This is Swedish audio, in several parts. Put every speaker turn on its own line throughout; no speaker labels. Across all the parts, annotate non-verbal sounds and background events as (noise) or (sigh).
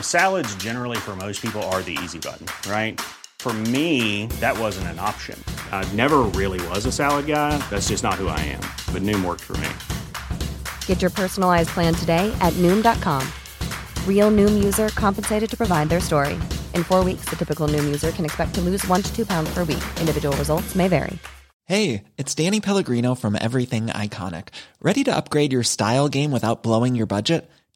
Salads, generally, for most people, are the easy button, right? For me, that wasn't an option. I never really was a salad guy. That's just not who I am. But Noom worked for me.
Get your personalized plan today at Noom.com. Real Noom user compensated to provide their story. In four weeks, the typical Noom user can expect to lose one to two pounds per week. Individual results may vary.
Hey, it's Danny Pellegrino from Everything Iconic. Ready to upgrade your style game without blowing your budget?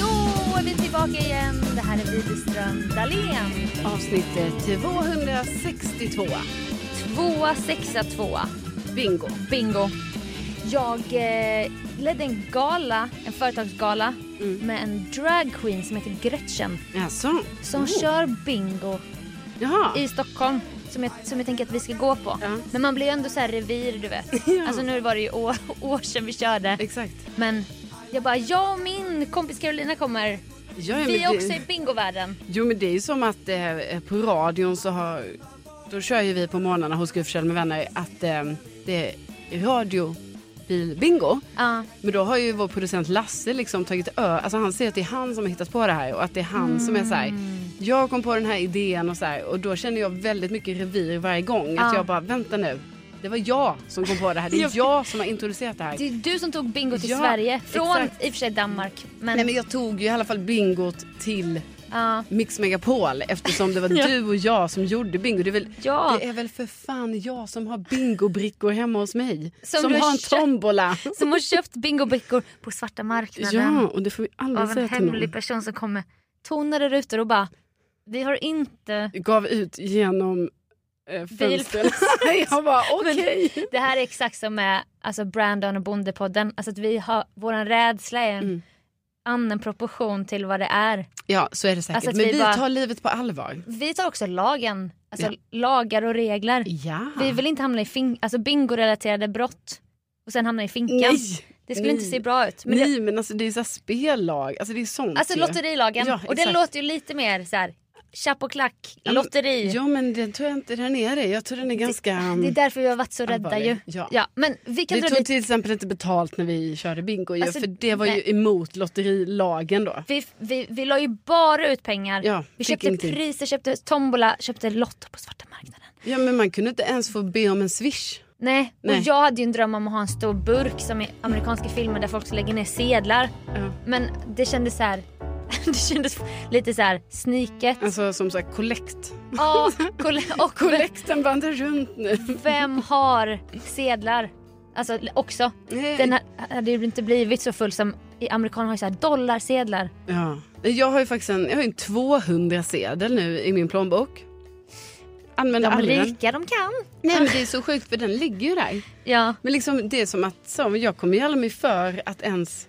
Då är vi tillbaka igen. Det här är Widerström Dahlén.
Avsnitt eh, 262.
2, 6, 2.
Bingo.
Bingo. Jag eh, ledde en gala, en företagsgala
Mm.
med en drag queen som heter Gretchen
Jaså?
som
Oh.
kör bingo
Jaha.
i Stockholm som jag, som jag tänker att vi ska gå på.
Ja.
Men man blir ju ändå så här revir du vet.
(laughs) Ja.
Alltså nu var det ju år, (laughs) år sedan vi körde.
Exakt.
Men jag bara, jag och min kompis Carolina kommer.
Ja, ja,
Vi
men
är
det-
också i bingovärlden.
Jo men det är ju som att eh, på radion så har, då kör ju vi på morgnarna hos Gud Forssell med vänner att eh, det är radiobilbingo.
Ja.
Men då har ju vår producent Lasse liksom tagit ö, alltså han säger att det är han som har hittat på det här och att det är han som är så här.
Mm.
Jag kom på den här idén och så här och då känner jag väldigt mycket revir varje gång. Att
Ja.
jag bara vänta nu, det var jag som kom på det här. Det är jag som har introducerat det här.
Det är du som tog bingo till
Ja,
Sverige. Från
exakt.
i och för sig Danmark. Men,
Nej men jag tog ju i alla fall bingot till
ja.
Mix Megapol eftersom
(laughs)
det var du och jag som gjorde bingo. Det är, väl,
Ja.
det är väl för fan jag som har bingobrickor hemma hos mig.
Som
Som,
du har
har en
köpt.
tombola.
Som har köpt bingobrickor på svarta marknaden.
Ja, och det får vi aldrig
Av en
säga till någon.
hemlig person som kommer tonade rutor och bara vi har inte...
Gav ut genom eh, fönstret. (laughs)
Bilfönstret.
jag bara
(laughs) Men
okej.
Det här är exakt som med alltså Brandon och Bondepodden. Alltså att vi har, våran rädsla är en
Mm.
annan proportion till vad det är.
Ja så är det säkert.
Alltså att
Men
vi
vi
bara-
tar livet på allvar.
Vi tar också lagen, alltså lagar och regler.
Ja.
Vi vill inte hamna i fin- alltså bingorelaterade brott och sen hamna i finkan.
Nej.
Det skulle inte
Nej.
se bra ut. Men
Men
det-
Nej men alltså det är så här spellag. Alltså det är sånt
Alltså
ju.
lotterilagen.
Ja,
och den
exakt.
låter ju lite mer så här chapp och klack,
Ja, men-
lotteri.
Jo men den tror jag inte den är det. Jag tror den är ganska... mm.
Det är därför vi har varit så rädda
Allvarlig.
ju.
Ja.
men vi kan
Vi
dra
tog
dit.
till exempel inte betalt när vi körde bingo ju,
Alltså,
för det var
nej.
ju emot lotterilagen då.
Vi, vi, vi la ju bara ut pengar.
Ja,
vi
fick
köpte
ingenting.
priser, köpte tombola, köpte lotter på svarta marknaden.
Ja men man kunde inte ens få be om en swish.
Nej.
Nej.
och jag hade ju en dröm om att ha en stor burk som i amerikanska filmer där folk lägger ner sedlar.
Ja.
Men det kändes så här. (laughs) Det kändes lite så här sniket.
Alltså som sagt kollekt.
Ja, koll-
(laughs)
och
Kollekten vandrar runt nu.
vem har sedlar? Alltså också. (laughs)
Nej.
Den här- hade ju inte blivit så full som i amerikaner har ju så här dollarsedlar.
Ja. Jag har ju faktiskt en, jag har ju en 200 sedel nu i min plånbok. Använder
De
aldrig den.
rika de kan.
Nej men det är så sjukt för den ligger ju där.
Ja.
Men liksom det är som att så, jag kommer ju aldrig mig för att ens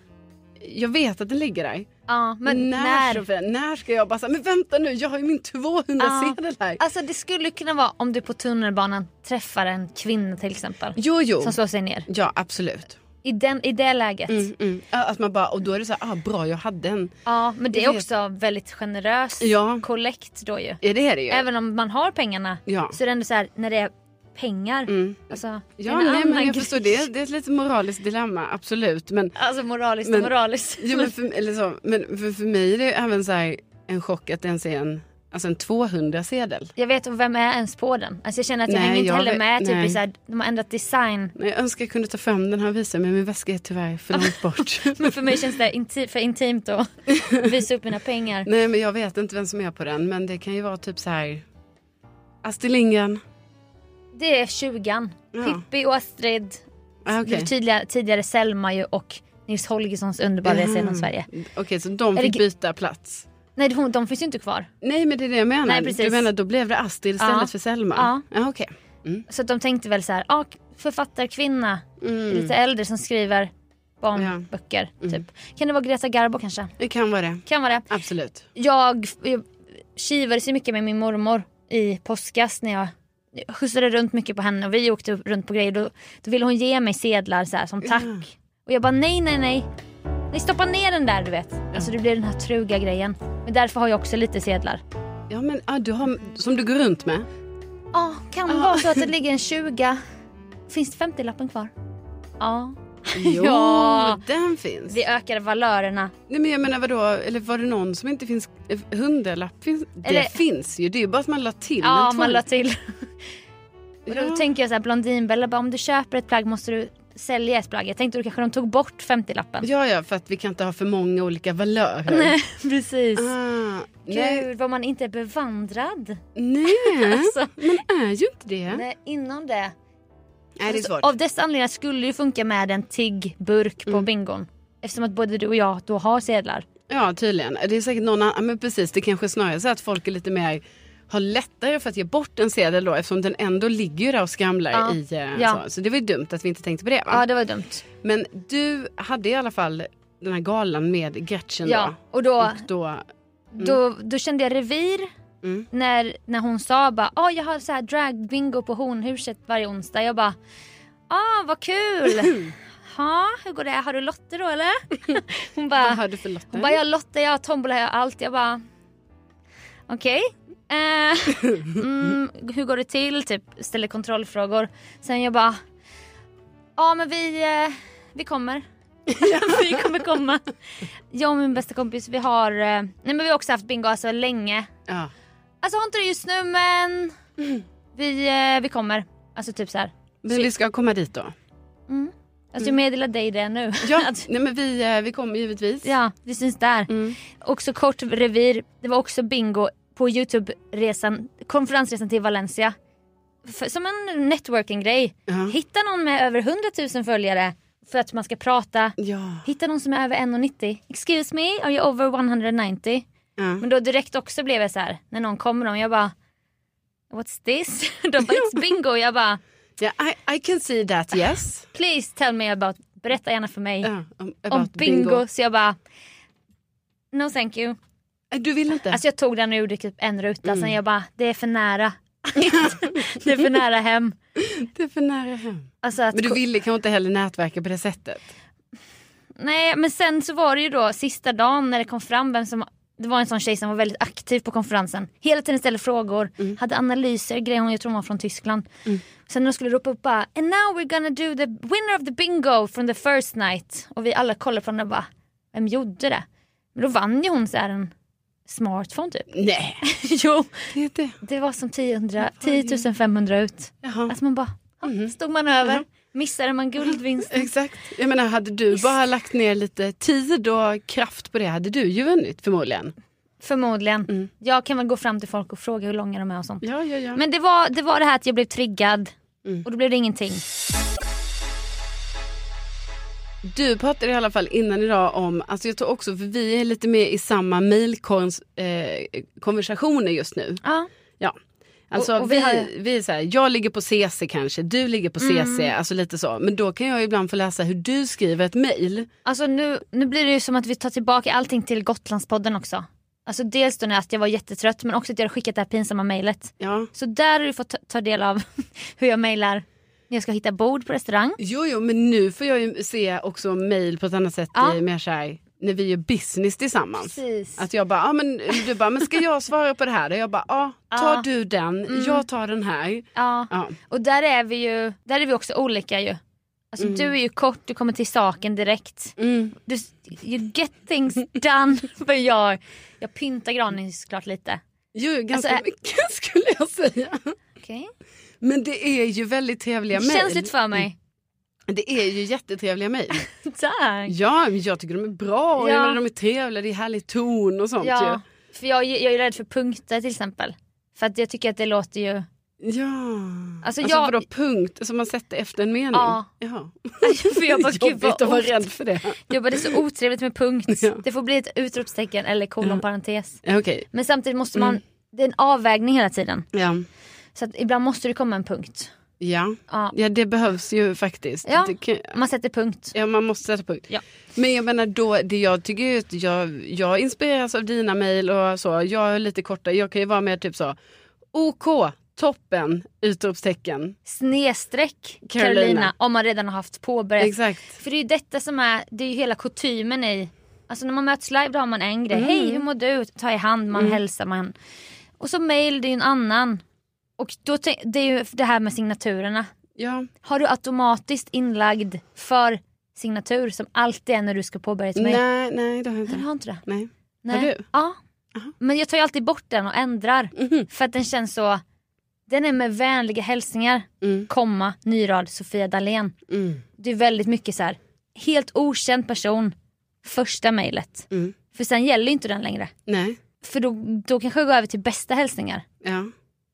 jag vet att den ligger där.
Ja, men
när,
när?
Sofia, när ska jag bara säga, men vänta nu, jag har ju min 200-sedel här.
Alltså det skulle kunna vara om du på tunnelbanan träffar en kvinna till exempel.
Jo, jo.
Som slår sig ner.
Ja, absolut.
I, den, i det läget.
Mm, mm. Ja, Att man bara, och då är det så här, ah, bra jag hade en.
Ja men det
Jag
är
vet.
också väldigt generös
Ja.
kollekt då ju.
Ja, det är det ju.
Även om man har pengarna
Ja.
så är det ändå så här när det är pengar.
Mm.
Alltså, det är
Ja,
en
nej,
annan
men jag
grej.
förstår det. Det är ett lite moraliskt dilemma, absolut. Men,
Alltså moraliskt
Men-
och moraliskt.
ja, men, för, eller så, men för, för mig är det även så här en chock att det ens är en, alltså en 200-sedel.
Jag vet och vem är ens på den? Alltså jag känner att jag
Nej,
hänger inte
jag
heller
vet-
med. Typ
nej.
i så här, de har ändrat design.
Nej, Jag önskar jag kunde ta fram den här och visa men min väska är tyvärr för
(laughs)
långt bort.
Men för mig känns det inti- för intimt
(laughs)
att visa upp mina pengar.
Nej men jag vet inte vem som är på den men det kan ju vara typ så här Astrid Lindgren.
Det är 20
Ja.
Pippi och Astrid.
Ah, okej.
Det tydliga, tidigare Selma ju och Nils Holgerssons underbara
Mm.
resa genom Sverige.
Okej så de
Eller
fick
gr-
byta plats.
Nej de, de finns ju inte kvar.
Nej men det är det jag menar.
Nej, precis.
du menar då blev det Astrid istället
Ja.
för Selma?
Ja.
Ja, okej.
Så att de tänkte väl så här, ah, författarkvinna,
Mm,
lite äldre som skriver barnböcker. Typ. Kan det vara Greta Garbo kanske?
Det kan vara det.
Kan vara det.
Absolut.
Jag, jag kivades ju mycket med min mormor i påskas när jag jag skjutsade runt mycket på henne och vi åkte runt på grejer. Då, då ville hon ge mig sedlar så här, som tack. Och jag bara nej, nej, nej. Nej, stoppa ner den där du vet. Alltså det blir den här truga grejen. Men därför har jag också lite sedlar.
Ja men ah, du har, som du går runt med.
Ja, kan vara så att det ligger en 20. Finns 50-lappen kvar? Ja.
Jo,
Ja.
den finns.
Det ökar valörerna.
Nej men jag menar vadå, eller var det någon som inte finns, eh, hundralapp finns? Det
Eller-
finns ju, det är ju bara att man la till
Ja,
en
man la
tvål.
till. Och då
Ja.
tänker jag så här, Blondinbella bara om du köper ett plagg måste du sälja ett plagg. Jag tänkte då kanske de tog bort 50-lappen.
Ja, ja, för att vi kan inte ha för många olika valörer.
Nej, precis.
Ah, nej,
Gud vad man inte är bevandrad.
nej.
(laughs) Alltså.
man är ju inte det. Ah. Nej,
Nej, inom det.
det är
Alltså,
svårt.
Av dessa anledningar skulle det ju funka med en tigg burk på bingon. Eftersom att både du och jag då har sedlar.
Mm. Ja, tydligen. Det är säkert någon annan, ja, men precis, det kanske snarare är så att folk är lite mer har lättare för att ge bort en sedel då eftersom den ändå ligger ju där och skramlar
Ja.
i eh,
Ja.
så. så det var ju dumt att vi inte tänkte på det va?
Ja, det var dumt.
Men du hade i alla fall den här galan med Gretchen
Ja,
då.
och då,
Och då,
då, då kände jag revir
Mm.
när, när hon sa bara ah, jag har så här drag bingo på Hornhuset varje onsdag. Jag bara ah vad
(laughs)
kul! Ha, hur går det? Har du lotter då eller? Hon
vad
bara,
hade du för lotter?
hon bara jag har lotter, jag har tombola, jag har allt. Jag bara okej. Eh, mm, hur går det till? Typ ställer kontrollfrågor. Sen jag bara ja men vi, eh, vi kommer. (laughs) vi kommer komma. Jag och min bästa kompis vi har, eh, nej men vi har också haft bingo alltså länge.
ja.
Alltså har inte det just nu men vi, eh, vi kommer. Alltså typ så här.
Men vi ska komma dit då.
Alltså jag meddelar dig det nu. (laughs)
Ja,
Att-
nej men vi, eh, vi kommer givetvis.
ja vi syns där.
Mm.
Också kort revir, det var också bingo på Youtube-resan, konferensresan till Valencia. För, som en networking-grej.
Ja.
Hitta någon med över 100 000 följare för att man ska prata.
Ja.
Hitta någon som är över 1,90. Excuse me, are you over 190?
Ja.
Men då direkt också blev jag så här, när någon kommer om, jag bara What's this? (laughs) De bara it's bingo. Jag bara
Ja, I, I can see
(laughs)
that yes.
please tell me about, berätta gärna för mig
Ja, om-
om
about
bingo. Så jag bara No thank you.
Eh, Du vill inte?
Alltså jag tog den och gjorde typ en ruta,
Mm.
sen jag bara det är för nära. (laughs) det är för nära hem.
det är för nära hem.
Alltså att
Men du ville kanske inte heller nätverka på det sättet?
Nej men sen så var det ju då sista dagen när det kom fram vem som det var en sån tjej som var väldigt aktiv på konferensen. Hela tiden ställde frågor,
Mm.
hade analyser, grejer hon, jag tror hon var från Tyskland. Sen när de skulle ropa upp bara “And now we're gonna do the winner of the bingo from the first night” och vi alla kollade på henne och bara “Vem gjorde det?” Men då vann ju hon så här en smartphone typ. (laughs)
Nej.
jo,
Det är det.
det var som 10, 10 500 ut.
Jaha.
Alltså man bara, "Ja, stod man över, missade man guldvinsten.
Alltså, Exakt. Jag menar, hade du bara lagt ner lite tid och kraft på det hade du ju vunnit förmodligen.
Förmodligen. Jag kan väl gå fram till folk och fråga hur långa de är och sånt.
Ja, ja, ja.
Men det var, det var det här att jag blev triggad och då blev det ingenting.
Du pratade i alla fall innan idag om, alltså jag tror också för vi är lite mer i samma mailkonversationer eh, konversationer just nu.
Ja.
Ja. Alltså,
Och- och
vi,
vi-
har- vi är så här, jag ligger på CC kanske, du ligger på CC, alltså lite så. Men då kan jag ibland få läsa hur du skriver ett mejl.
Alltså nu, nu blir det ju som att vi tar tillbaka allting till Gotlandspodden också. Alltså dels då när att jag var jättetrött men också att jag hade skickat det här pinsamma mejlet.
Ja.
Så där har du fått ta, ta del av (laughs) hur jag mejlar när jag ska hitta bord på restaurang.
Jo, jo, men nu får jag ju se också mejl på ett annat sätt,
Ja.
eh, mer så här, när vi gör business tillsammans.
Precis.
Att jag bara, ah, men, du bara, men
(laughs)
ska jag svara på det här? Och jag bara, ja, ah, tar du den,
Mm.
jag tar den här.
Ja.
Ja.
Och där är vi ju där är vi också olika ju. Alltså du är ju kort, du kommer till saken direkt.
Mm.
Du, you get things done. (laughs) För jag, jag pyntar granen såklart lite.
Jo, ganska
Alltså, ä-
mycket (laughs) skulle jag säga.
Okej.
Men det är ju väldigt trevliga mejl.
Känsligt för
(laughs)
mig.
Det är ju jättetrevliga mejl.
Tack.
Ja, men jag tycker de är bra och
Ja.
jag menar, de är trevliga, det är härlig ton och sånt
Ja, för jag, jag är rädd för punkter till exempel. För att jag tycker att det låter ju...
ju. Ja.
Alltså,
alltså
jag-
vadå punkt som man sätter efter en mening?
Ja.
Jaha.
för (laughs) jag bara,
(laughs)
gud
Jobbigt
vad
att vara
ot-
rädd för det.
jag bara, det är så otrevligt med punkt.
Ja.
Det får bli ett utropstecken eller kolon parentes.
Ja, Mm. Okej,
Men samtidigt måste man, det är en avvägning hela tiden.
ja.
Så att ibland måste det komma en punkt.
Ja.
Ja.
ja, det behövs ju faktiskt.
Ja.
Det kan,
Man sätter punkt.
Ja, man måste sätta punkt.
Ja.
Men jag menar då, det jag tycker ju att jag, jag inspireras av dina mejl och så. Jag är lite kortare, jag kan ju vara mer typ så. OK, toppen, utropstecken.
Snedstreck
Carolina.
Carolina. om man redan har haft påbörjat.
Exakt.
För det är ju detta som är, det är ju hela kutymen i, alltså när man möts live då har man en
Mm.
grej, hej hur mår du, ta i hand, man hälsar, man. Och så mail det är ju en annan. Och då, tänk- det är ju det här med signaturerna.
Ja.
Har du automatiskt inlagd för signatur som alltid är när du ska påbörja ett mail?
Nej, nej det har jag
Nej, du
inte.
har inte det.
Nej.
Nej.
du?
Ja. Men jag tar ju alltid bort den och ändrar.
Mhm.
För att den känns så, den är med vänliga hälsningar, komma, ny rad, Sofia Dalén.
Mm.
Det är väldigt mycket så här helt okänd person första mejlet.
Mm.
För sen gäller ju inte den längre.
Nej.
För då, då kanske jag går över till bästa hälsningar
Ja.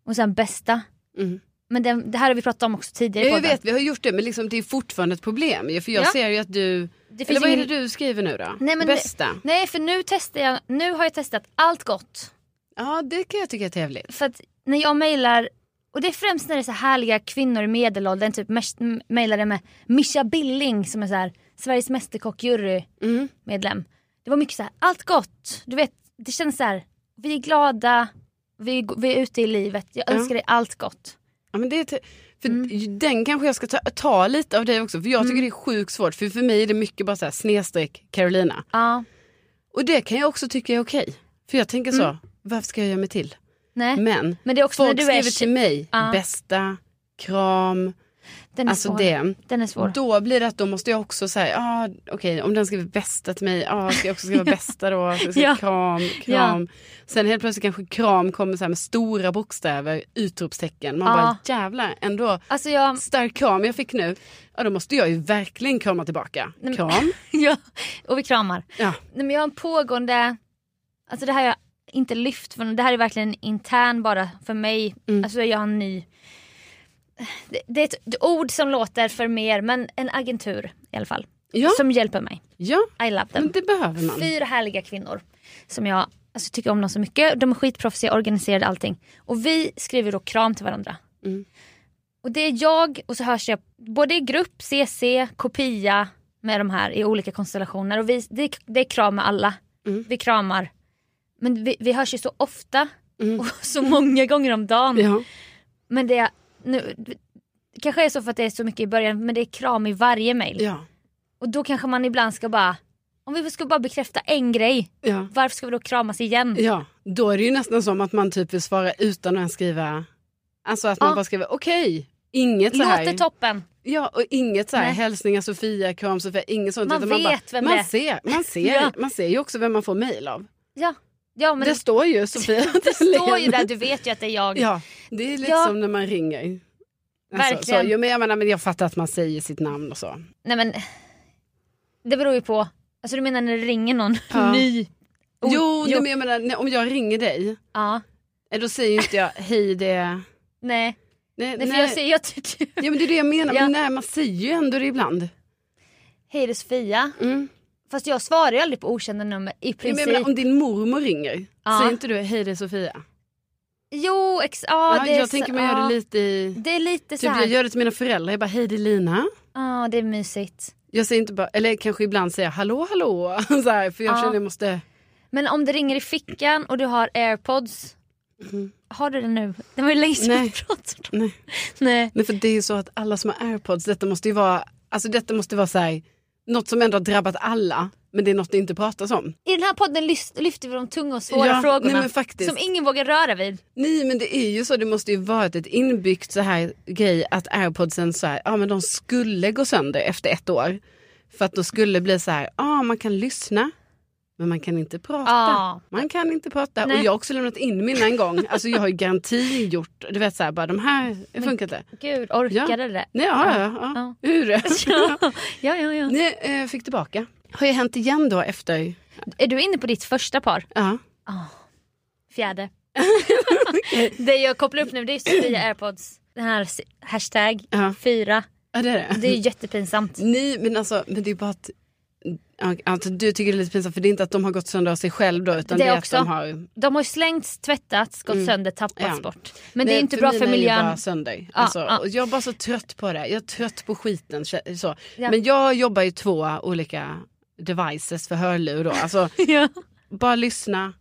och sen bästa.
Mm.
Men det, det här har vi pratat om också tidigare
Ja,
i
jag
podden.
vet, vi har gjort det men liksom, det är fortfarande ett problem. ju, För jag
Ja.
ser ju att du...
Det finns
Eller vad är
ingen-
det du skriver nu då?
Nej, men-
Bästa?
Nej för nu testar jag, nu har jag testat allt gott.
Ja, det kan jag tycka är trevligt.
För att när jag mejlar, och det är främst när det är så härliga kvinnor i medelåldern, typ mes- m- mejlade med Mischa Billing som är så här, Sveriges Mästerkock
Mm.
jurymedlem. Det var mycket så här, allt gott. Du vet, det känns så här, vi är glada, vi, är- vi är ute i livet, jag
Ja.
önskar dig allt gott.
Ja, men det är te- för
Mm.
Den kanske jag ska ta, ta lite av dig också, för jag tycker det är sjukt svårt. För för mig är det mycket bara så här, snedstreck Carolina.
Ja,
Och det kan jag också tycka är okej. För jag tänker så, varför ska jag göra mig till?
nej.
Men,
Mm. Men det är också
folk
när du är
skriver till mig,
Ja.
bästa, kram,
Den är
alltså
svår.
det.
Den är svår.
Då blir det att då måste jag också säga, ah, okej om den skriver bästa till mig, ah, ska jag
(laughs)
också skriva bästa då? Så jag ska
Ja.
Kram, kram. Sen helt plötsligt kanske kram kommer så här med stora bokstäver, utropstecken. Man
Ja.
bara jävlar, ändå
Alltså
(laughs)
jag,
stark kram jag fick nu. Ja då måste jag ju verkligen krama tillbaka. Kram.
ja, och vi kramar.
Ja.
Nej, men jag har en pågående, alltså det här har jag inte lyft för det här är verkligen intern bara för mig. Alltså jag har en ny, det, det är ett det är ord som låter för mer men en agentur i alla fall.
Ja.
Som hjälper mig.
ja,
I love them.
men det behöver man.
Fyra härliga kvinnor som jag alltså, tycker om dem så mycket. De är skitproffsiga, organiserade allting. Och vi skriver då kram till varandra.
Mm.
Och det är jag och så hörs jag både i grupp, CC, kopia med de här i olika konstellationer. Och vi, det, är- det är kram med alla.
Mm.
Vi kramar. Men vi, vi hörs ju så ofta (laughs) och så många gånger om dagen.
Mm. Ja.
Men det är, nu, det kanske är så för att det är så mycket i början men det är kram i varje mail.
Ja.
Och då kanske man ibland ska bara, om vi ska bara bekräfta en grej,
Ja.
varför ska vi då kramas igen?
ja, då är det ju nästan som att man typ vill svara utan att ens skriva, alltså att man
Ja.
bara skriver okej, inget så här.
Låter toppen.
Ja, och inget så här
Nej.
hälsningar Sofia, kram Sofia, inget sånt.
Man
utan
vet vem
man
det är.
Ser, man,
(laughs)
ser,
Ja.
man ser ju också vem man får mejl av.
Ja, ja men
det,
det,
står
(laughs)
ju Sofia Det (laughs)
står ju där, du vet ju att det är jag.
Ja, det är lite
Ja.
som när man ringer. Alltså,
Verkligen.
Så, jo, men jag, menar, men jag fattar att man säger sitt namn och så.
Nej men, det beror ju på, alltså du menar när det ringer någon (laughs)
Ja.
ny?
Jo,
Oh,
Nej, men jag menar, nej, om jag ringer dig,
Ja,
eh, då säger ju inte jag
(laughs)
hej det...
nej. nej,
Nej, nej.
för jag säger, jag tycker,
Ja men det är det jag menar,
Ja. Mm,
men nej, man säger ju ändå det ibland.
hej det är Sofia.
Mm.
Fast jag svarar ju aldrig på okända nummer i
Ja, men
princip.
jag menar, om din mormor ringer,
Ja.
säger inte du hej det är Sofia?
Jo, ex- ja,
Ja,
det är
jag
så-
tänker man gör
ja.
det lite i...
Det är lite så
Typ jag
här.
gör det till mina föräldrar, jag bara hej det är Lina.
Ja, det är mysigt.
Jag säger inte bara, eller kanske ibland säger jag hallå hallå. (laughs) Så här, för jag
Ja.
känner jag måste...
Men om det ringer i fickan och du har airpods. Har du det nu? Det var ju länge sedan vi
Mm. Nej.
pratade.
Nej.
Nej.
Nej för det är ju så att alla som har airpods, detta måste ju vara, alltså detta måste vara så här, något som ändå har drabbat alla. Men det är något det inte pratas om.
I den här podden lys- lyfter vi de tunga och svåra
Ja,
frågorna.
nej, men faktiskt.
Som ingen vågar röra vid.
Nej men det är ju så, det måste ju varit ett inbyggt så här grej att airpodsen så här, ja men de skulle gå sönder efter ett år. För att då skulle det bli så här, ja man kan lyssna men man kan inte prata.
Ja.
Man kan inte prata.
Nej.
Och jag har också lämnat in mina en gång. Alltså jag har ju garanti gjort, du vet så här bara de här funkar inte.
Gud, orkade det?
Nej, ja, ja, ja.
Ja.
Hur (laughs) är det?
(laughs) Ja, ja, ja.
Ni eh, fick tillbaka. Har ju hänt igen då efter,
Är du inne på ditt första par?
ja. (laughs)
Fjärde. det jag kopplar upp nu det är Sofia airpods. Den här s- hashtag
Ja.
fyra.
ja det är det.
Det är jättepinsamt.
Nej men alltså, men det är bara att ja, alltså, du tycker det är lite pinsamt för det är inte att de har gått sönder av sig själv då utan
Det
det, är
också.
att de har...
De har ju slängts, tvättats, gått sönder, tappats
Mm. Ja.
bort. Men det är ju inte bra
mina
för
är ju
miljön.
Bara sönder.
Ja,
alltså,
ja.
och Jag är bara så trött på det. Jag är trött på skiten. kä- Så.
Ja.
Men jag jobbar ju två olika devices för hörlur då. Alltså,
(laughs) Ja.
bara lyssna.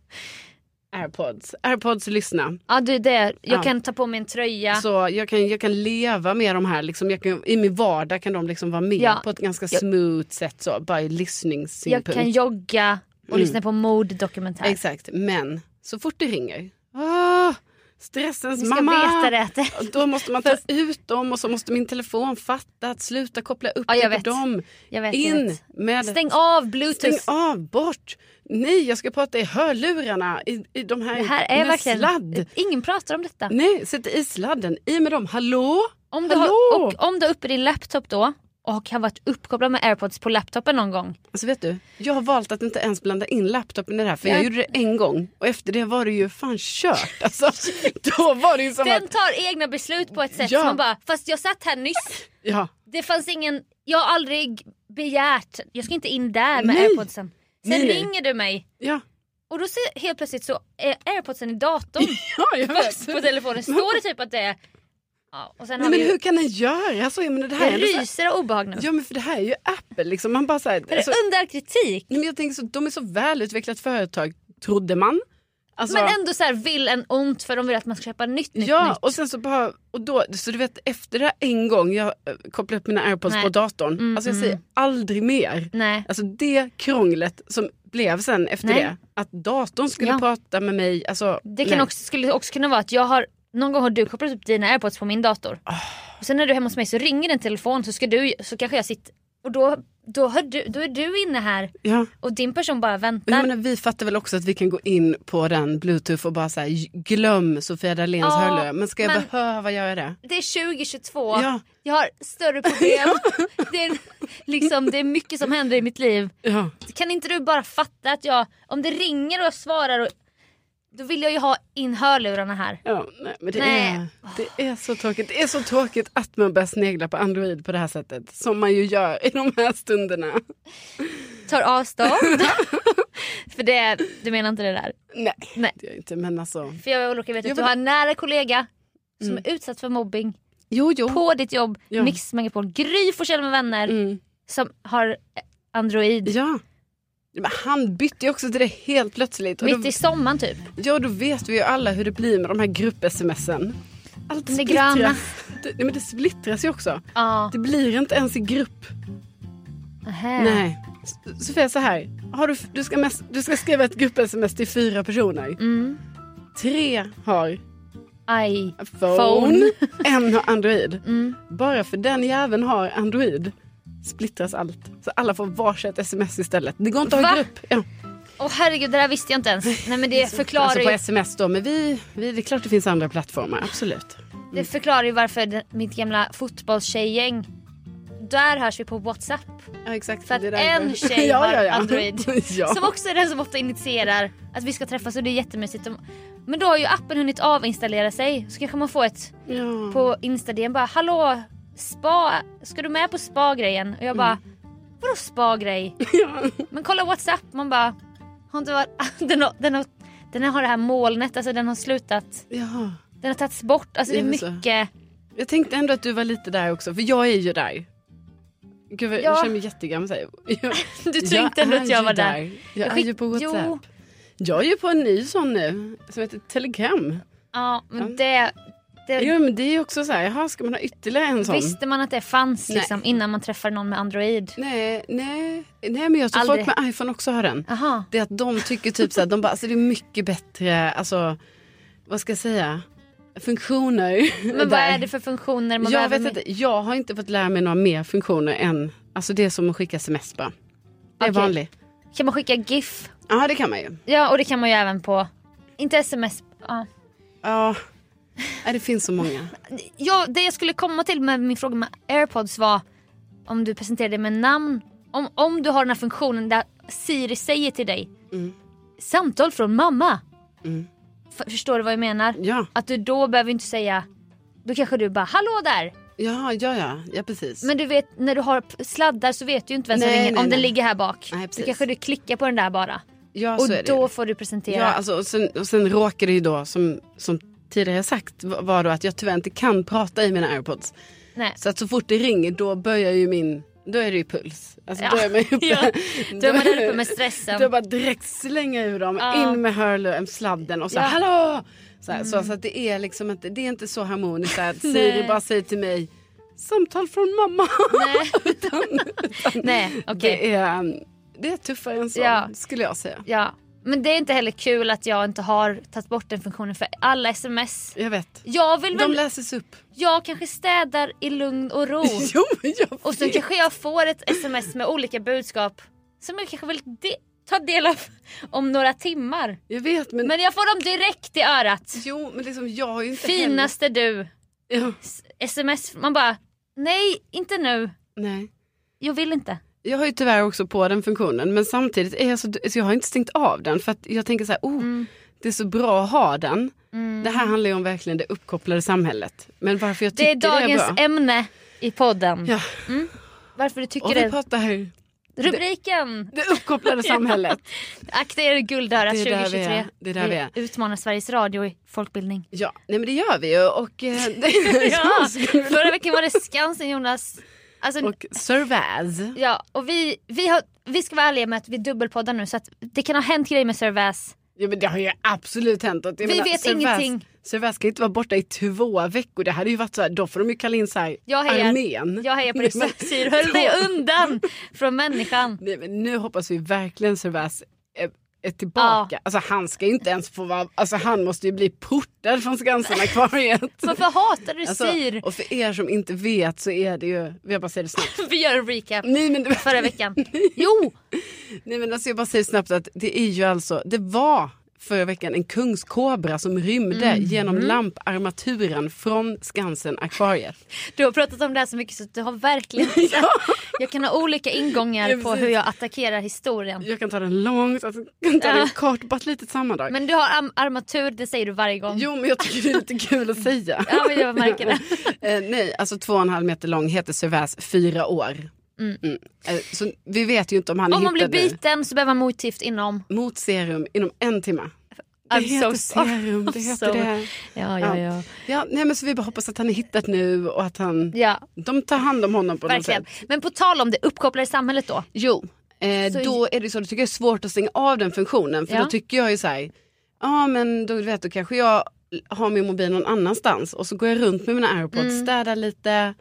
Airpods. Airpods lyssna.
Ja, du, det. Jag
Ja.
kan ta på mig en tröja.
Så jag kan, jag kan leva med de här. Liksom, jag kan, I min vardag kan de liksom vara med
Ja.
på ett ganska
Jag-
smooth sätt. Så, bara i
jag
lyssningssynpunkt.
kan jogga och lyssna på morddokumentär.
Mm. Exakt, men så fort det ringer. Ah, stressens
Du ska
mamma.
veta det. att det-
Då måste man ta ut dem och så måste min telefon fatta att sluta koppla upp
Ja, jag
mig
vet.
på dem.
Jag vet, jag
In
vet.
med...
Stäng av bluetooth.
Stäng av, bort. Nej, jag ska prata i hörlurarna. I, i de här,
Det här är
med
verkligen...
sladd. Mm,
Ingen pratar om detta.
Nej, sätt i sladden. I med dem. Hallå?
Om du,
Hallå?
har, och, om du har uppe din laptop då och har varit uppkopplad med airpods på laptopen någon gång.
Alltså vet du, jag har valt att inte ens blanda in laptopen i det här för
Ja.
jag gjorde det en gång och efter det var det ju fan kört. (laughs) Alltså, då var det ju som
Den
att...
tar egna beslut på ett sätt
Ja.
som man bara, fast jag satt här nyss.
Ja.
Det fanns ingen, jag har aldrig begärt, jag ska inte in där med
Nej.
airpodsen. Sen
Nej, nej.
ringer du mig
Ja,
och då ser helt plötsligt så är airpodsen i datorn
(laughs) ja jag
fast
vet.
på
(laughs)
telefonen. Står det typ att det är... Ja, och sen
Nej
har
men
vi ju,
hur kan den göra så? Jag menar, det här
det
är ändå så här,
ryser av obehag nu.
Ja men för det här är ju Apple liksom. Man bara så här,
Är
alltså,
det under kritik?
nej, men jag tänker så, de är så välutvecklat företag, trodde man. Alltså,
Men ändå så här vill en ont för de vill att man ska köpa nytt, nytt,
ja,
nytt.
och sen så bara, och då, så du vet efter det här en gång jag eh, kopplade upp mina airpods
Nej.
på datorn.
Mm,
alltså jag
mm.
säger aldrig mer.
Nej.
Alltså det krånglet som blev sen efter
Nej.
det. Att datorn skulle
Ja.
prata med mig. Alltså,
Det kan
nej.
också, skulle också kunna vara att jag har, någon gång har du kopplat upp dina airpods på min dator.
Ah.
Och sen när du är hemma hos mig så ringer din telefon så, ska du, så kanske jag sitter och då, då, hör du, då är du inne här
Ja.
och din person bara
Och Jag
väntar.
menar, vi fattar väl också att vi kan gå in på den bluetooth och bara så här, glöm Sofia Dahléns
Ja,
hörlurar. Men ska jag
men-
behöva göra det?
Det är 2022,
Ja.
jag har större
(laughs)
problem. det, är, liksom, det är mycket som händer i mitt liv.
Ja.
Kan inte du bara fatta att jag, om det ringer och jag svarar, och, då vill jag ju ha in hörlurarna här.
Ja, nej, men det,
Nej.
Är, det är så tråkigt. Det är så tråkigt att man börjar snegla på Android på det här sättet. Som man ju gör i de här stunderna.
Tar avstånd. (laughs) För det, du menar inte det där?
Nej,
Nej.
det gör jag inte. Men alltså.
För jag råkar veta
Jo,
att du
men-
har en nära kollega som är utsatt för mobbing
Jo, jo.
på ditt jobb,
Mm. Ja.
Mix Megapol, Gry Forssell med vänner
Mm.
som har eh, Android.
Ja. Men han bytte ju också till det helt plötsligt. Och
Mitt
då,
i sommaren typ.
ja, då vet vi ju alla hur det blir med de här grupp-smsen. Allt
De är
splittras.
gröna.
Det, nej, men det splittras ju också.
Ja.
Det blir inte ens i grupp.
Nähä.
Nej. S- Sofia, så här. Har du, du, ska mest, du ska skriva ett grupp-sms till fyra personer.
Mm.
Tre har
Aj.
phone,
Phone.
(laughs) en har Android.
Mm.
Bara för den jäveln har Android splittras allt. Så alla får varsitt sms istället. Det går inte att ha
Va?
grupp. Ja.
Åh herregud, det där visste jag inte ens. Nej men det förklarar,
Alltså på
ju,
sms då, men vi, vi, det är klart det finns andra plattformar, absolut.
det förklarar ju varför det, mitt gamla fotbollstjejgäng, där hörs vi på WhatsApp.
Ja, exakt.
För att
Det är därför. (laughs)
en tjej
Ja,
har
ja, ja.
Android.
(laughs) ja.
Som också är den som ofta initierar att vi ska träffas och det är jättemysigt. De- Men då har ju appen hunnit avinstallera sig så kanske man får ett
ja.
på Instagram bara hallå spa, ska du med på spa-grejen? Och jag bara
Mm.
vadå
(laughs)
spa-grej? Men kolla Whatsapp man bara har inte varit, (laughs) den, har, den, har, Den har det här molnet, alltså den har slutat.
Jaha.
Den har tagits bort. Alltså det är
Är det så?
mycket.
Jag tänkte ändå att du var lite där också, för jag är ju där. Gud, vad-
Ja.
jag känner mig jättegammal. så här.
(laughs)
Jag,
Du tänkte ändå
är
att jag
ju
var där.
Jag
Jag
är
skick-
ju på
Jo.
Whatsapp. Jag är ju på en ny sån nu, som heter Telegram.
Ja, men
Ja.
det, det
Jo, men det är ju också så här, jaha, ska man ha ytterligare en sån?
visste man att det fanns
Nej.
liksom, innan man träffar någon med Android.
Nej, nej, nej, men jag tror
Aldrig.
folk med iPhone också har den.
Aha.
Det är att de tycker typ så här, de bara, alltså det är mycket bättre, alltså, vad ska jag säga, funktioner.
Men vad är det för funktioner man
jag
behöver
vet
med-
inte, jag har inte fått lära mig några mer funktioner än, alltså det är som att skicka sms bara. Det är
Okej.
vanligt.
Kan man skicka GIF?
Ja, det kan man ju.
Ja, och det kan man ju även på... Inte sms. Ja.
Ja, Nej, det finns så många.
Ja, det jag skulle komma till med min fråga med airpods var om du presenterar dig med namn. Om, om du har den här funktionen där Siri säger till dig samtal från mamma. Mm. F- förstår du vad jag menar?
Ja,
Att du då behöver inte säga då kanske du bara hallå där.
ja, ja, ja, ja precis.
Men du vet när du har p- sladdar så vet du ju inte vem som
Nej,
ringer
nej,
om den
nej.
ligger här bak.
Nej,
så
precis.
kanske du klickar på den där bara.
ja, så är
och
det ju.
då får du presentera.
Ja, alltså, och, sen, och sen råkar det ju då, som, som tidigare sagt, va- var då att jag tyvärr inte kan prata i mina airpods.
nej.
Så att så fort det ringer då börjar ju min, då är det ju puls. Alltså
Ja. (laughs)
då är man ju uppe.
Ja. Då är man där uppe med
Då
stressen.
bara direkt slänga ur dem,
Ja.
in med hörluren, sladden och så
Ja. Mm.
hallå! Så, här, så, så att det är liksom inte, det är inte så harmoniskt så här,
(laughs)
att Siri
Nej.
bara säger till mig samtal från mamma. (laughs)
Nej, nej okej.
Det, är, um, det är tuffare än så
Ja.
skulle jag säga.
Ja, men det är inte heller kul att jag inte har tagit bort den funktionen för alla sms.
Jag vet.
Jag vill
De
väl,
läses upp.
jag kanske städar i lugn och ro
Jo, men (laughs) jag
och sen
vet.
kanske jag får ett sms med olika budskap som jag kanske vill de- ta del av om några timmar.
Jag vet men,
Men jag får dem direkt i örat.
jo men liksom jag har ju inte heller-
Finaste du.
Ja,
S- Sms, man bara nej inte nu.
nej.
Jag vill inte.
Jag har ju tyvärr också på den funktionen men samtidigt är jag så, så jag har inte stängt av den för att jag tänker så här, oh,
Mm.
det är så bra att ha den. Det här handlar ju om verkligen det uppkopplade samhället. Men varför jag
Det
tycker
är dagens
bra.
ämne i podden.
Ja.
Varför du tycker
Och vi
det.
pratar här,
Rubriken.
det
(laughs)
uppkopplade samhället.
Akta er guldörat
Det är där vi
2023.
är. Det är där vi är.
utmanar Sveriges Radio i
(laughs)
folkbildning.
Ja, nej men det gör vi ju och, eh,
(laughs)
det- (laughs)
Ja,
så skulle vi-
förra veckan var det Skansen Jonas. Alltså,
och Servaz.
ja, och vi, vi, har, vi ska vara ärliga med att vi dubbelpoddar nu så att det kan ha hänt grejer med Servaz.
Ja men det har ju absolut hänt något. Jag
Vi vet ingenting.
Servaz kan inte vara borta i två veckor. Det hade ju varit så här, då får de ju kalla in så här,
Jag hejar.
armén.
Jag hejar på
(laughs) Nej,
dig
men-
Satyr, höll dig undan från människan.
Nej, men nu hoppas vi verkligen Servais är, är tillbaka. Alltså han ska ju inte ens få vara, alltså han måste ju bli portad
(laughs)
från Skansen-akvariet.
Varför hatar du
Alltså,
Syr?
och för er som inte vet så är det ju, jag bara säger
(laughs)
det snabbt.
Vi gör en recap
Nej men,
förra
(laughs)
veckan. Jo,
nej men alltså jag bara säger snabbt att det är ju alltså, det var förra veckan en kungskobra som rymde
Mhm.
genom lamparmaturen från Skansen-akvariet.
du har pratat om det här så mycket så att du har
(laughs)
verkligen... Jag kan ha olika
Ja,
ingångar på
precis.
hur jag attackerar historien.
Jag kan ta den långt, alltså, jag kan ta
Ja.
den kort, bara ett litet sammandrag.
Men du har am- armatur, det säger du varje gång.
Jo men jag tycker det är lite kul att säga.
Ja, men jag märker det.
(laughs) Eh, nej, alltså två och en halv meter lång heter Servais fyra år. Mm. Eh, så vi vet ju inte om han
Om man blir
hittade
biten så behöver man motgift inom.
mot serum inom en timme. Det
I'm
heter
so sorry.
serum, det
I'm
heter
so-
det.
Ja, ja, ja.
Ja, nej, men så vi bara hoppas att han är hittat nu och att han,
Ja,
de tar hand om honom på
verkligen.
något sätt.
Men på tal om det uppkopplade samhället då.
Jo, eh,
Så-
då är det så, då tycker jag det är svårt att stänga av den funktionen. För
Ja.
då tycker jag ju så här, ja men då, du vet, då kanske jag har min mobil någon annanstans och så går jag runt med mina airpods,
Mm.
städar lite,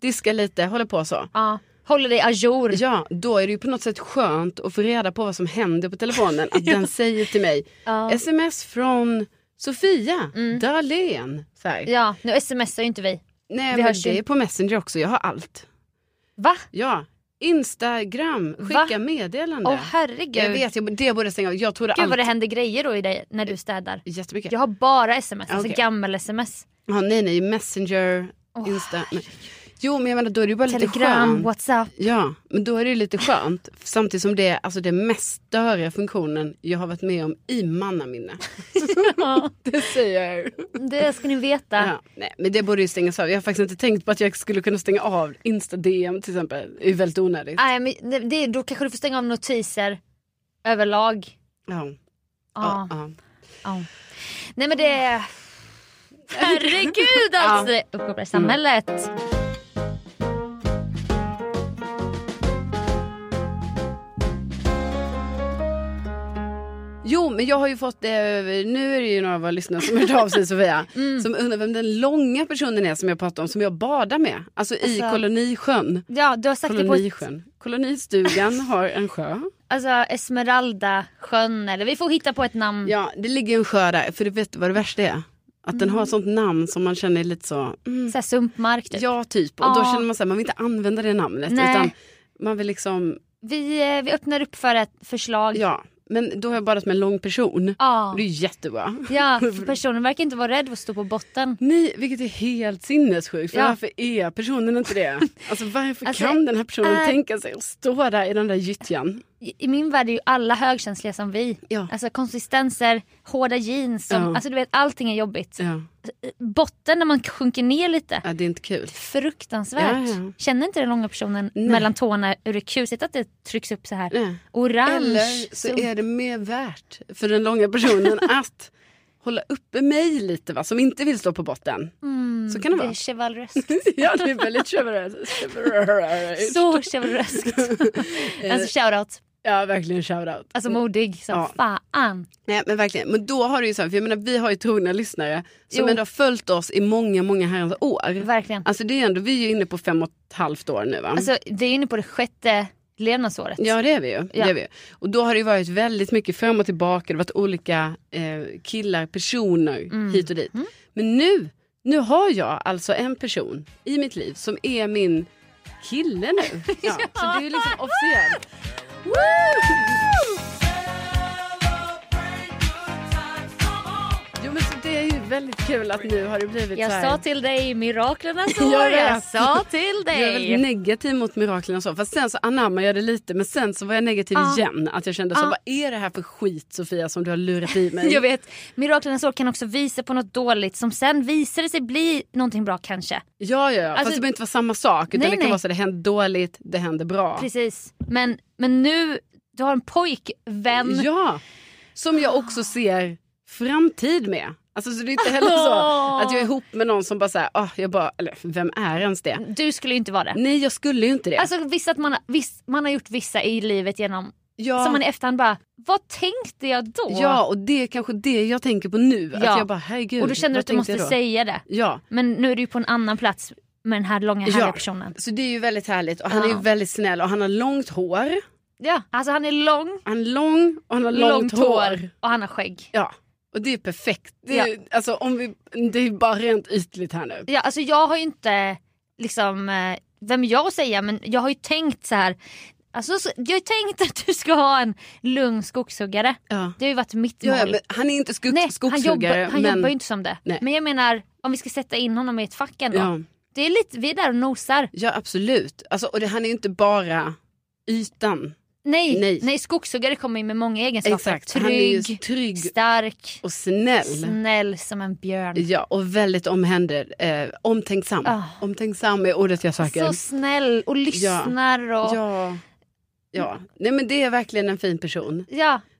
diskar lite, håller på så.
Ja. Håller dig ajour.
Ja, då är det ju på något sätt skönt att få reda på vad som händer på telefonen.
(laughs)
Att den säger till mig,
Ja. Mm.
sms från Sofia Dahlén. Så här.
Ja, nu smsar ju inte vi.
Nej,
vi
men
hörs ju.
det är på Messenger också, jag har allt.
Va?
Ja, Instagram, skicka
Va?
meddelande.
Åh herregud.
jag vet, jag, det borde jag stänga av. Jag trodde
Gud vad
allt
det händer grejer då i dig när du städar.
jättemycket.
Jag har bara sms, alltså
Okej.
gammel-sms.
Ja, nej, nej, Messenger, Insta. nej. Jo, men jag menar då är det ju bara lite
Telegram,
skönt.
whatsapp.
Ja, men då är det ju lite skönt. Samtidigt som det är alltså, den mest störiga funktionen jag har varit med om
(laughs)
i mannaminne. (laughs) det säger jag.
Det ska ni veta.
Ja, nej, men det borde ju stängas av. Jag har faktiskt inte tänkt på att jag skulle kunna stänga av Insta-DM till exempel. Det är ju väldigt onödigt.
Nej, men det- det, då kanske du får stänga av notiser överlag. Ja.
Ja, ja, ja.
Ja. Nej men det... Herregud alltså! Ja. Uppkopplade samhället.
Jo, men jag har ju fått, eh, nu är det ju några av våra lyssnare som har hört av
(laughs)
sig Sofia,
Mm.
som undrar vem den långa personen är som jag pratade om, som jag badar med. Alltså i
Alltså-
kolonisjön.
Ja du har sagt det på ett
Kolonisjön.
(laughs)
Kolonistugan har en sjö.
Alltså Esmeralda sjön eller vi får hitta på ett namn.
Ja, det ligger ju en sjö där, för du vet vad det värsta är? Att den har ett sånt namn som man känner är lite så, mm,
Så här sumpmark Mm. typ.
ja typ. Och då
Ja.
känner man så här, man vill inte använda det namnet.
Nej.
Utan man vill liksom,
Vi, eh, vi öppnar upp för ett förslag.
ja. Men då har jag badat med en lång person.
Ja.
Det är ju jättebra.
Ja, för personen verkar inte vara rädd för att stå på botten.
Nej, vilket är helt sinnessjukt. För
Ja.
Varför är personen inte det? (laughs) Alltså varför
Alltså,
kan den här personen
äh,
tänka sig att stå där i den där gyttjan?
I i min värld är ju alla högkänsliga som vi.
Ja.
Alltså konsistenser, hårda jeans, som,
Ja.
alltså du vet allting är jobbigt.
Ja,
Botten när man sjunker ner lite,
ja det är inte kul.
fruktansvärt.
Ja, ja.
Känner inte den långa personen mellan tårna hur det är kusigt att det trycks upp så här.
Nej.
Orange.
Eller så
sump.
är det mer värt för den långa (laughs) personen att hålla uppe mig lite va, som inte vill stå på (laughs) botten. så kan
Mm,
det
Det
vara.
är
(laughs)
chivalröst.
ja, det är väldigt (laughs) chivalrous.
så
(laughs)
chivalröst. alltså shoutout.
Ja, verkligen shoutout.
Alltså modig som
Ja.
fan.
Nej, men verkligen. Men då har du ju så här, för jag menar vi har ju trogna lyssnare som
Jo.
ändå har följt oss i många, många herrans år.
Verkligen.
Alltså det är ändå, vi är ju inne på fem och ett halvt år nu va?
Alltså vi är inne på det sjätte levnadsåret.
Ja det är vi ju.
Ja.
Det är vi. ju. Och då har det ju varit väldigt mycket fram och tillbaka, det har varit olika eh, killar, personer
Mm.
hit och dit. Men nu, nu har jag alltså en person i mitt liv som är min
(laughs)
kille nu. Ja, Så det är ju liksom officiellt. Jo men så det är ju väldigt kul att nu har det blivit så
Jag
här.
sa till dig
(laughs)
miraklernas år.
Jag
jag,
vet.
sa till
Jag är väldigt
dig.
negativ mot miraklerna och så. Fast sen så anammade jag det lite. Men sen så var jag negativ igen. Att jag kände så,
Ja.
vad är det här för skit Sofia som du har lurat i
(laughs)
mig?
Jag vet, miraklernas år kan också visa på något dåligt som sen visar det sig bli någonting bra kanske.
Ja, ja, ja.
Alltså-
fast det behöver inte vara samma sak. Utan
Nej,
det kan
nej.
vara så, det händer dåligt, det händer bra.
Precis. Men, men nu, du har en pojkvän.
Ja, som jag också ser framtid med. Alltså så det är inte
(laughs)
heller så
Åh.
att jag är ihop med någon som bara säger, ah, jag bara, eller vem är ens det?
Du skulle ju inte vara det.
Nej, jag skulle ju inte det.
Alltså visst att man, har- visst, man har gjort vissa i livet genom
ja.
som man i efterhand bara, vad tänkte jag då?
ja, och det är kanske det jag tänker på nu. Att
Ja.
jag bara, herregud.
och då känner du
vad
att du
tänkte jag
måste
då?
säga det.
Ja.
Men nu är du ju på en annan plats med den här långa härliga personen.
Så det är ju väldigt härligt och han är
Ja.
ju väldigt snäll och han har långt hår.
Ja, alltså han är lång,
Han är lång och han har långt, hår.
och han har skägg.
Ja, och det är perfekt. Det är,
Ja.
alltså, om vi, det är bara rent ytligt här nu.
Ja, alltså jag har ju inte liksom, eh, vem jag säger, men jag har ju tänkt så här. Alltså, så- jag har ju tänkt (laughs) att du ska ha en lugn skogshuggare.
Ja.
Det har ju varit mitt mål.
Ja, ja, men han är inte skog,
Nej, han,
skogshuggare.
jobbar, han
men,
jobbar ju inte som det.
Nej.
Men jag menar, om vi ska sätta in honom i ett fack ändå.
Ja.
Det är lite, vi är där och nosar.
ja, absolut. Alltså, och det, han är ju inte bara ytan.
Nej,
Nej.
nej. skogshuggare kommer ju med många egenskaper.
Exakt, han är ju
Trygg,
trygg.
stark,
Och snäll.
snäll som en björn.
Ja, och väldigt omhänder, eh, omtänksam.
Ah.
Omtänksam är ordet jag söker.
Så snäll och lyssnar och... Ja.
ja. ja, nej men det är verkligen en fin person.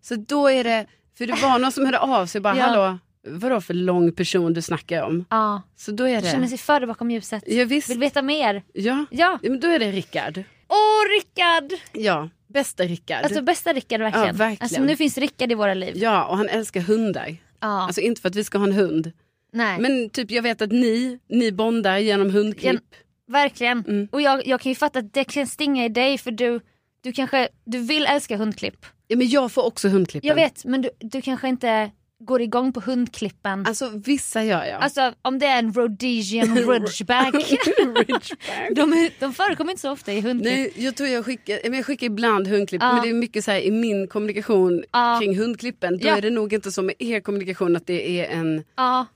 Så då är det, för det var någon som hörde av sig bara,
Ja.
hallå, vadå för lång person du snackar om?
Ja,
Så då är
jag känner
det,
sig förd bakom ljuset.
ja visst,
Vill veta mer?
ja.
Ja.
ja men då är det Rickard.
Åh Rickard!
Ja, bästa Rickard.
Alltså bästa Rickard verkligen.
Ja, verkligen.
Alltså nu finns Rickard i våra liv.
ja, och han älskar hundar.
Ja.
Alltså inte för att vi ska ha en hund,
Nej.
men typ jag vet att ni, ni bondar genom hundklipp.
Verkligen.
Mm.
Och jag, jag kan ju fatta att det kan stinga i dig för du, du kanske du vill älska hundklipp.
Ja men jag får också hundklippen.
Jag vet men du, du kanske inte går igång på hundklippen. Alltså,
Alltså vissa gör jag.
om det är en
(laughs)
rhodesian ridgeback. (laughs) de, är- de förekommer inte så ofta i hundklipp.
Nej, jag tror jag skickar, men jag skickar ibland hundklipp,
Ja.
men det är mycket så här i min kommunikation
Ja.
kring hundklippen. Då
Ja.
är det nog inte så med er kommunikation att det är en
Ja.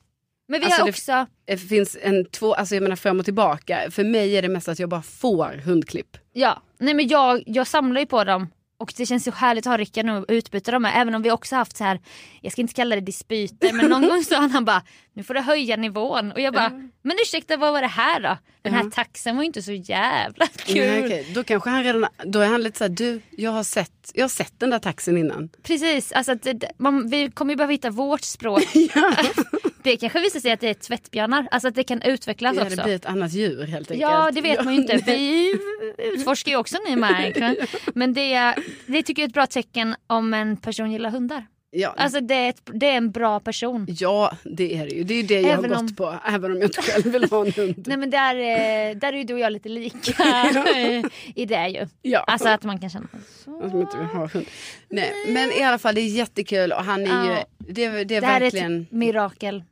Men vi
Alltså,
har
det-
också,
Det finns en två, alltså jag menar fram och tillbaka. För mig är det mest att jag bara får hundklipp.
ja. Nej men jag, jag samlar ju på dem Och det känns så härligt att ha Rickard nu och utbyta dem med. Även om vi också haft så här, jag ska inte kalla det dispyter, men
(laughs)
någon gång sa han, han bara, nu får du höja nivån. Och jag bara, men ursäkta vad var det här då? Den här taxen var ju inte så jävla kul.
(laughs) Nej, okej. Då kanske han redan, då är han lite så här, du, jag har sett, jag har sett den där taxin innan.
Precis, alltså att det, man, vi kommer ju behöva hitta vårt
(laughs)
språk. det kanske visar sig att det är tvättbjörnar, alltså att det kan utvecklas
Ja, det
också.
blir ett annat djur helt enkelt.
Ja det vet man
(laughs)
ju inte.
nej.
Vi utforskar ju också ny
(laughs)
mark. Men det, är- det tycker jag är ett bra tecken om en person gillar hundar.
Ja,
Alltså det är, ett, det är en bra person.
ja, det är det ju. Det är ju det jag
Även
har gått
om-
på, även om jag inte själv vill ha en hund.
Nej men där, eh, där är ju du och jag lite lika
(laughs)
(laughs) i det ju.
ja.
Alltså att man kan känna
Att man inte vill ha hund. Nej, men i alla fall det är jättekul och han är
Ja.
ju, det, är- det är
Det här
verkligen,
är ett mirakel.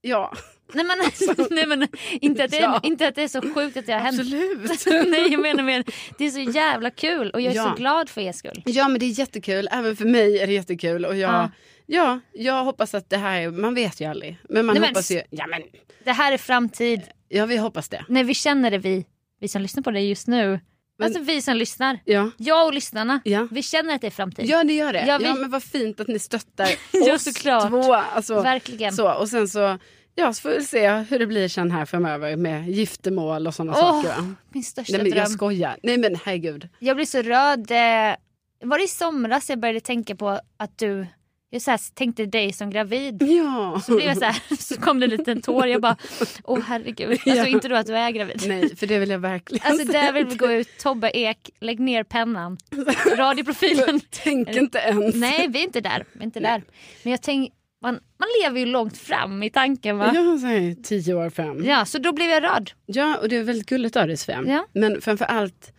ja
Nej men, alltså,
(laughs)
nej, men inte, att det är,
Ja.
inte att det är så sjukt att det har hänt.
absolut.
(laughs)
(laughs)
nej jag menar mer, det är så jävla kul och jag är
Ja.
så glad för er skull.
Ja men det är jättekul, även för mig är det jättekul och jag,
Ja.
ja, jag hoppas att det här, är- man vet ju aldrig. Men man
Nej, men-
hoppas ju, ja men,
Det här är framtid,
ja vi hoppas det.
när vi känner det vi, vi som lyssnar på det just nu.
Men-
alltså vi som lyssnar,
Ja,
jag och lyssnarna,
Ja.
vi känner att det är framtid.
ja det gör det.
Ja,
Ja,
vi-
men vad fint att ni stöttar
(laughs) Ja,
oss
såklart.
två. Alltså,
Verkligen.
så, och sen så, ja så får vi se hur det blir sen här framöver med giftermål och sådana
Åh,
saker. va?
Min största
Nej men
dröm.
jag skojar, nej men
(laughs)
herregud.
Jag blev så röd. eh, Var det i somras jag började tänka på att du... Jag så här, tänkte dig som
(laughs)
gravid.
Ja.
Så, blev jag så, här, (laughs) så kom det en liten tår. Jag bara, åh
(laughs)
herregud. Alltså
Ja.
inte då att du är gravid.
Nej, för det vill jag verkligen
Alltså
säga. (laughs)
där vill vi gå ut. Tobbe Ek, lägg ner pennan. Radioprofilen.
(laughs) Tänk inte ens.
Nej, vi är inte där. Vi är inte där. Men jag tänk, man, man lever ju långt fram i tanken va?
Jag säger tio år fram.
Ja, så då blev jag röd.
Ja, och det är väldigt gulligt av dig Sven.
Ja.
Men framför allt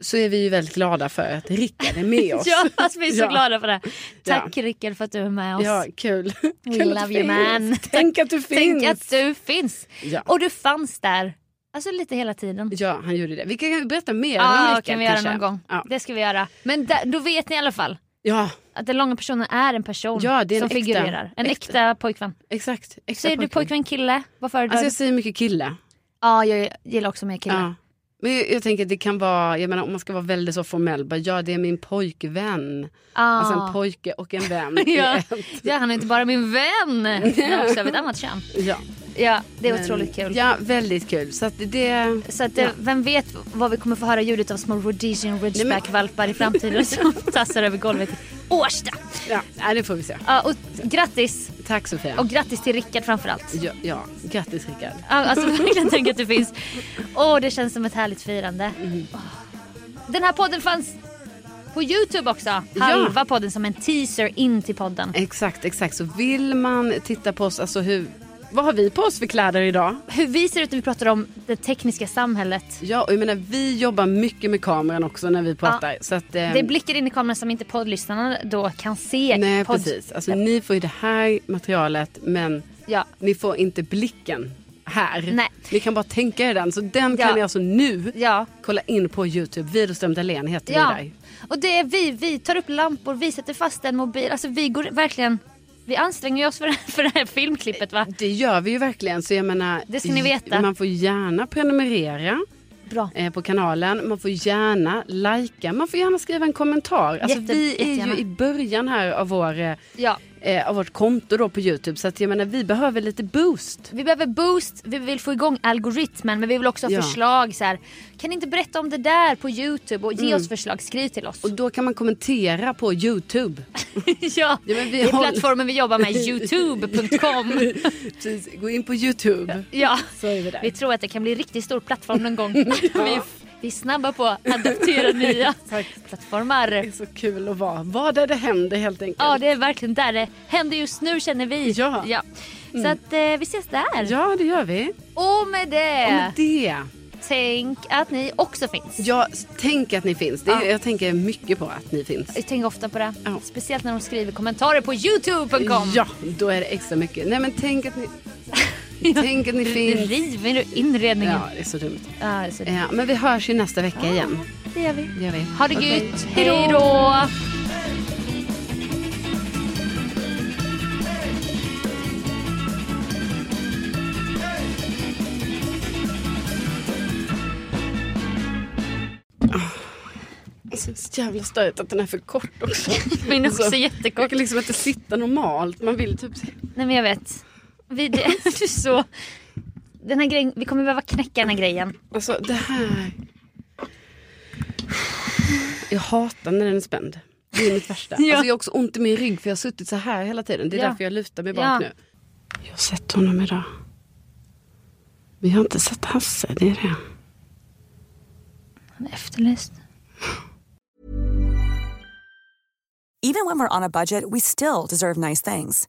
så är vi ju väldigt glada för att Rickard
(laughs)
är med oss.
Ja, alltså, vi är så
Ja.
glada för det. Tack Rickard för att du är med oss.
Ja, kul.
We
kul
love
att
you,
finns.
man.
(laughs) Tänk att du finns.
Tänk att du finns.
Ja.
Och du fanns där. Alltså lite hela tiden.
ja, han gjorde det. Vi kan berätta mer om
Ja,
Rickard
kan vi göra
kanske.
någon gång.
Ja,
Det ska vi göra. Men där, då vet ni i alla fall
ja
att den långa personen är en person
Ja, det är en
som
äkta-
figurerar. En äkta, pojkvän.
exakt. exakt
Säger du pojkvän kille? Vad föredrar
Alltså jag
du?
säger mycket kille.
Ja, jag gillar också mer killar.
Ja. Men jag, jag tänker att det kan vara, jag menar om man ska vara väldigt så formell, bara ja det är min pojkvän.
Ja.
Alltså en pojke och en
(laughs)
vän. i
Ah. ja.
ett.
ja, han är inte bara min vän. Han är också av ett annat kön.
ja.
Ja, det är
Men-
otroligt kul.
Ja, väldigt kul. Så att det...
Så att, eh, vem vet vad vi kommer få höra ljudet av små Rhodesian Ridgeback-valpar i framtiden
(laughs)
som tassar över golvet i Årsta.
Ja, nej, det får vi se.
Ja, och grattis!
Tack Sofia.
Och grattis till Rickard framförallt.
Ja, ja. grattis Rickard.
Ja,
(laughs)
Alltså verkligen tänk att du finns. Åh, det känns som ett härligt firande.
Mm.
Åh. Den här podden fanns på Youtube också. Halva podden som en teaser in till podden.
Exakt, exakt. Så vill man titta på oss, alltså hur... Vad har vi på oss för kläder idag?
Hur vi ser ut när vi pratar om det tekniska samhället.
Ja, och jag menar vi jobbar mycket med kameran också när vi pratar. Så att, eh,
Det är blickar in i kameran som inte poddlyssnarna då kan se. i
Nej,
podd-
precis. Alltså ni får ju det här materialet, men
Ja.
ni får inte blicken här.
Nej.
Ni kan bara tänka er den. Så den
Ja.
kan ni alltså nu
Ja.
kolla in på Youtube. Widerström Dahlén heter vi
Ja.
där.
Och det är vi, vi tar upp lampor, vi sätter fast en mobil. Alltså vi går verkligen, vi anstränger oss för det här, för det här filmklippet va.
Det gör vi ju verkligen. Så jag menar,
Det ska ni veta.
Man får gärna prenumerera.
Bra.
eh, på kanalen. Man får gärna lajka, man får gärna skriva en kommentar. Alltså,
Jätte-
vi är
jättegärna.
ju i början här av, vår, eh,
Ja.
eh, av vårt konto då på Youtube så att jag menar vi behöver lite boost.
Vi behöver boost, vi vill få igång algoritmen men vi vill också ha
Ja.
förslag. Så här, kan ni inte berätta om det där på Youtube och ge oss förslag, skriv till oss.
Mm. Och då kan man kommentera på Youtube.
(laughs) ja,
men vi
det är
håller-
plattformen vi jobbar
(laughs)
med, youtube.com.
Precis, gå in på Youtube.
ja.
Så är vi där.
Vi tror att det kan bli en riktigt stor plattform någon
(laughs)
gång. vi, vi är snabba på att adaptera
(laughs)
nya
Det
plattformar.
är så kul att vara. Vad är det händer helt enkelt.
Ja, det är verkligen där det händer just nu känner vi.
Ja. Mm.
Så att eh, vi ses där.
Ja, det gör vi.
Och med det,
Och med det.
tänk att ni också finns.
Ja, s- tänk att ni finns. Det är,
Ja.
Jag tänker mycket på att ni finns.
Jag tänker ofta på det.
Ja.
Speciellt när de skriver kommentarer på youtube.com. (laughs)
Ja, då är det extra mycket. Nej men tänk att ni,
(laughs)
tänk att ni
Nu
finns.
river du inredningen.
Ja, det är så dumt.
Ja, alltså,
Ja, men vi hörs ju nästa vecka igen.
det gör vi.
Det gör vi.
Ha det
Okej.
gött. Hej då!
Så jävla störigt att den är för kort (laughs) också.
Min är
Alltså,
också jättekort.
Jag kan liksom inte sitta normalt. Man vill typ...
Nej men jag vet. Vi, (laughs) det, du är så... Den här grejen, vi kommer behöva knäcka den här grejen.
Alltså det här. Jag hatar när den är spänd. Det är mitt (laughs) värsta.
Ja.
Alltså, jag har också ont i min rygg för jag har suttit så här hela tiden. Det är
Ja.
därför jag lutar mig bak
Ja.
nu. Jag har sett honom idag. Vi har inte sett Hasse, det är det.
Han är efterlyst.
Even when we're on a budget, we still deserve nice things.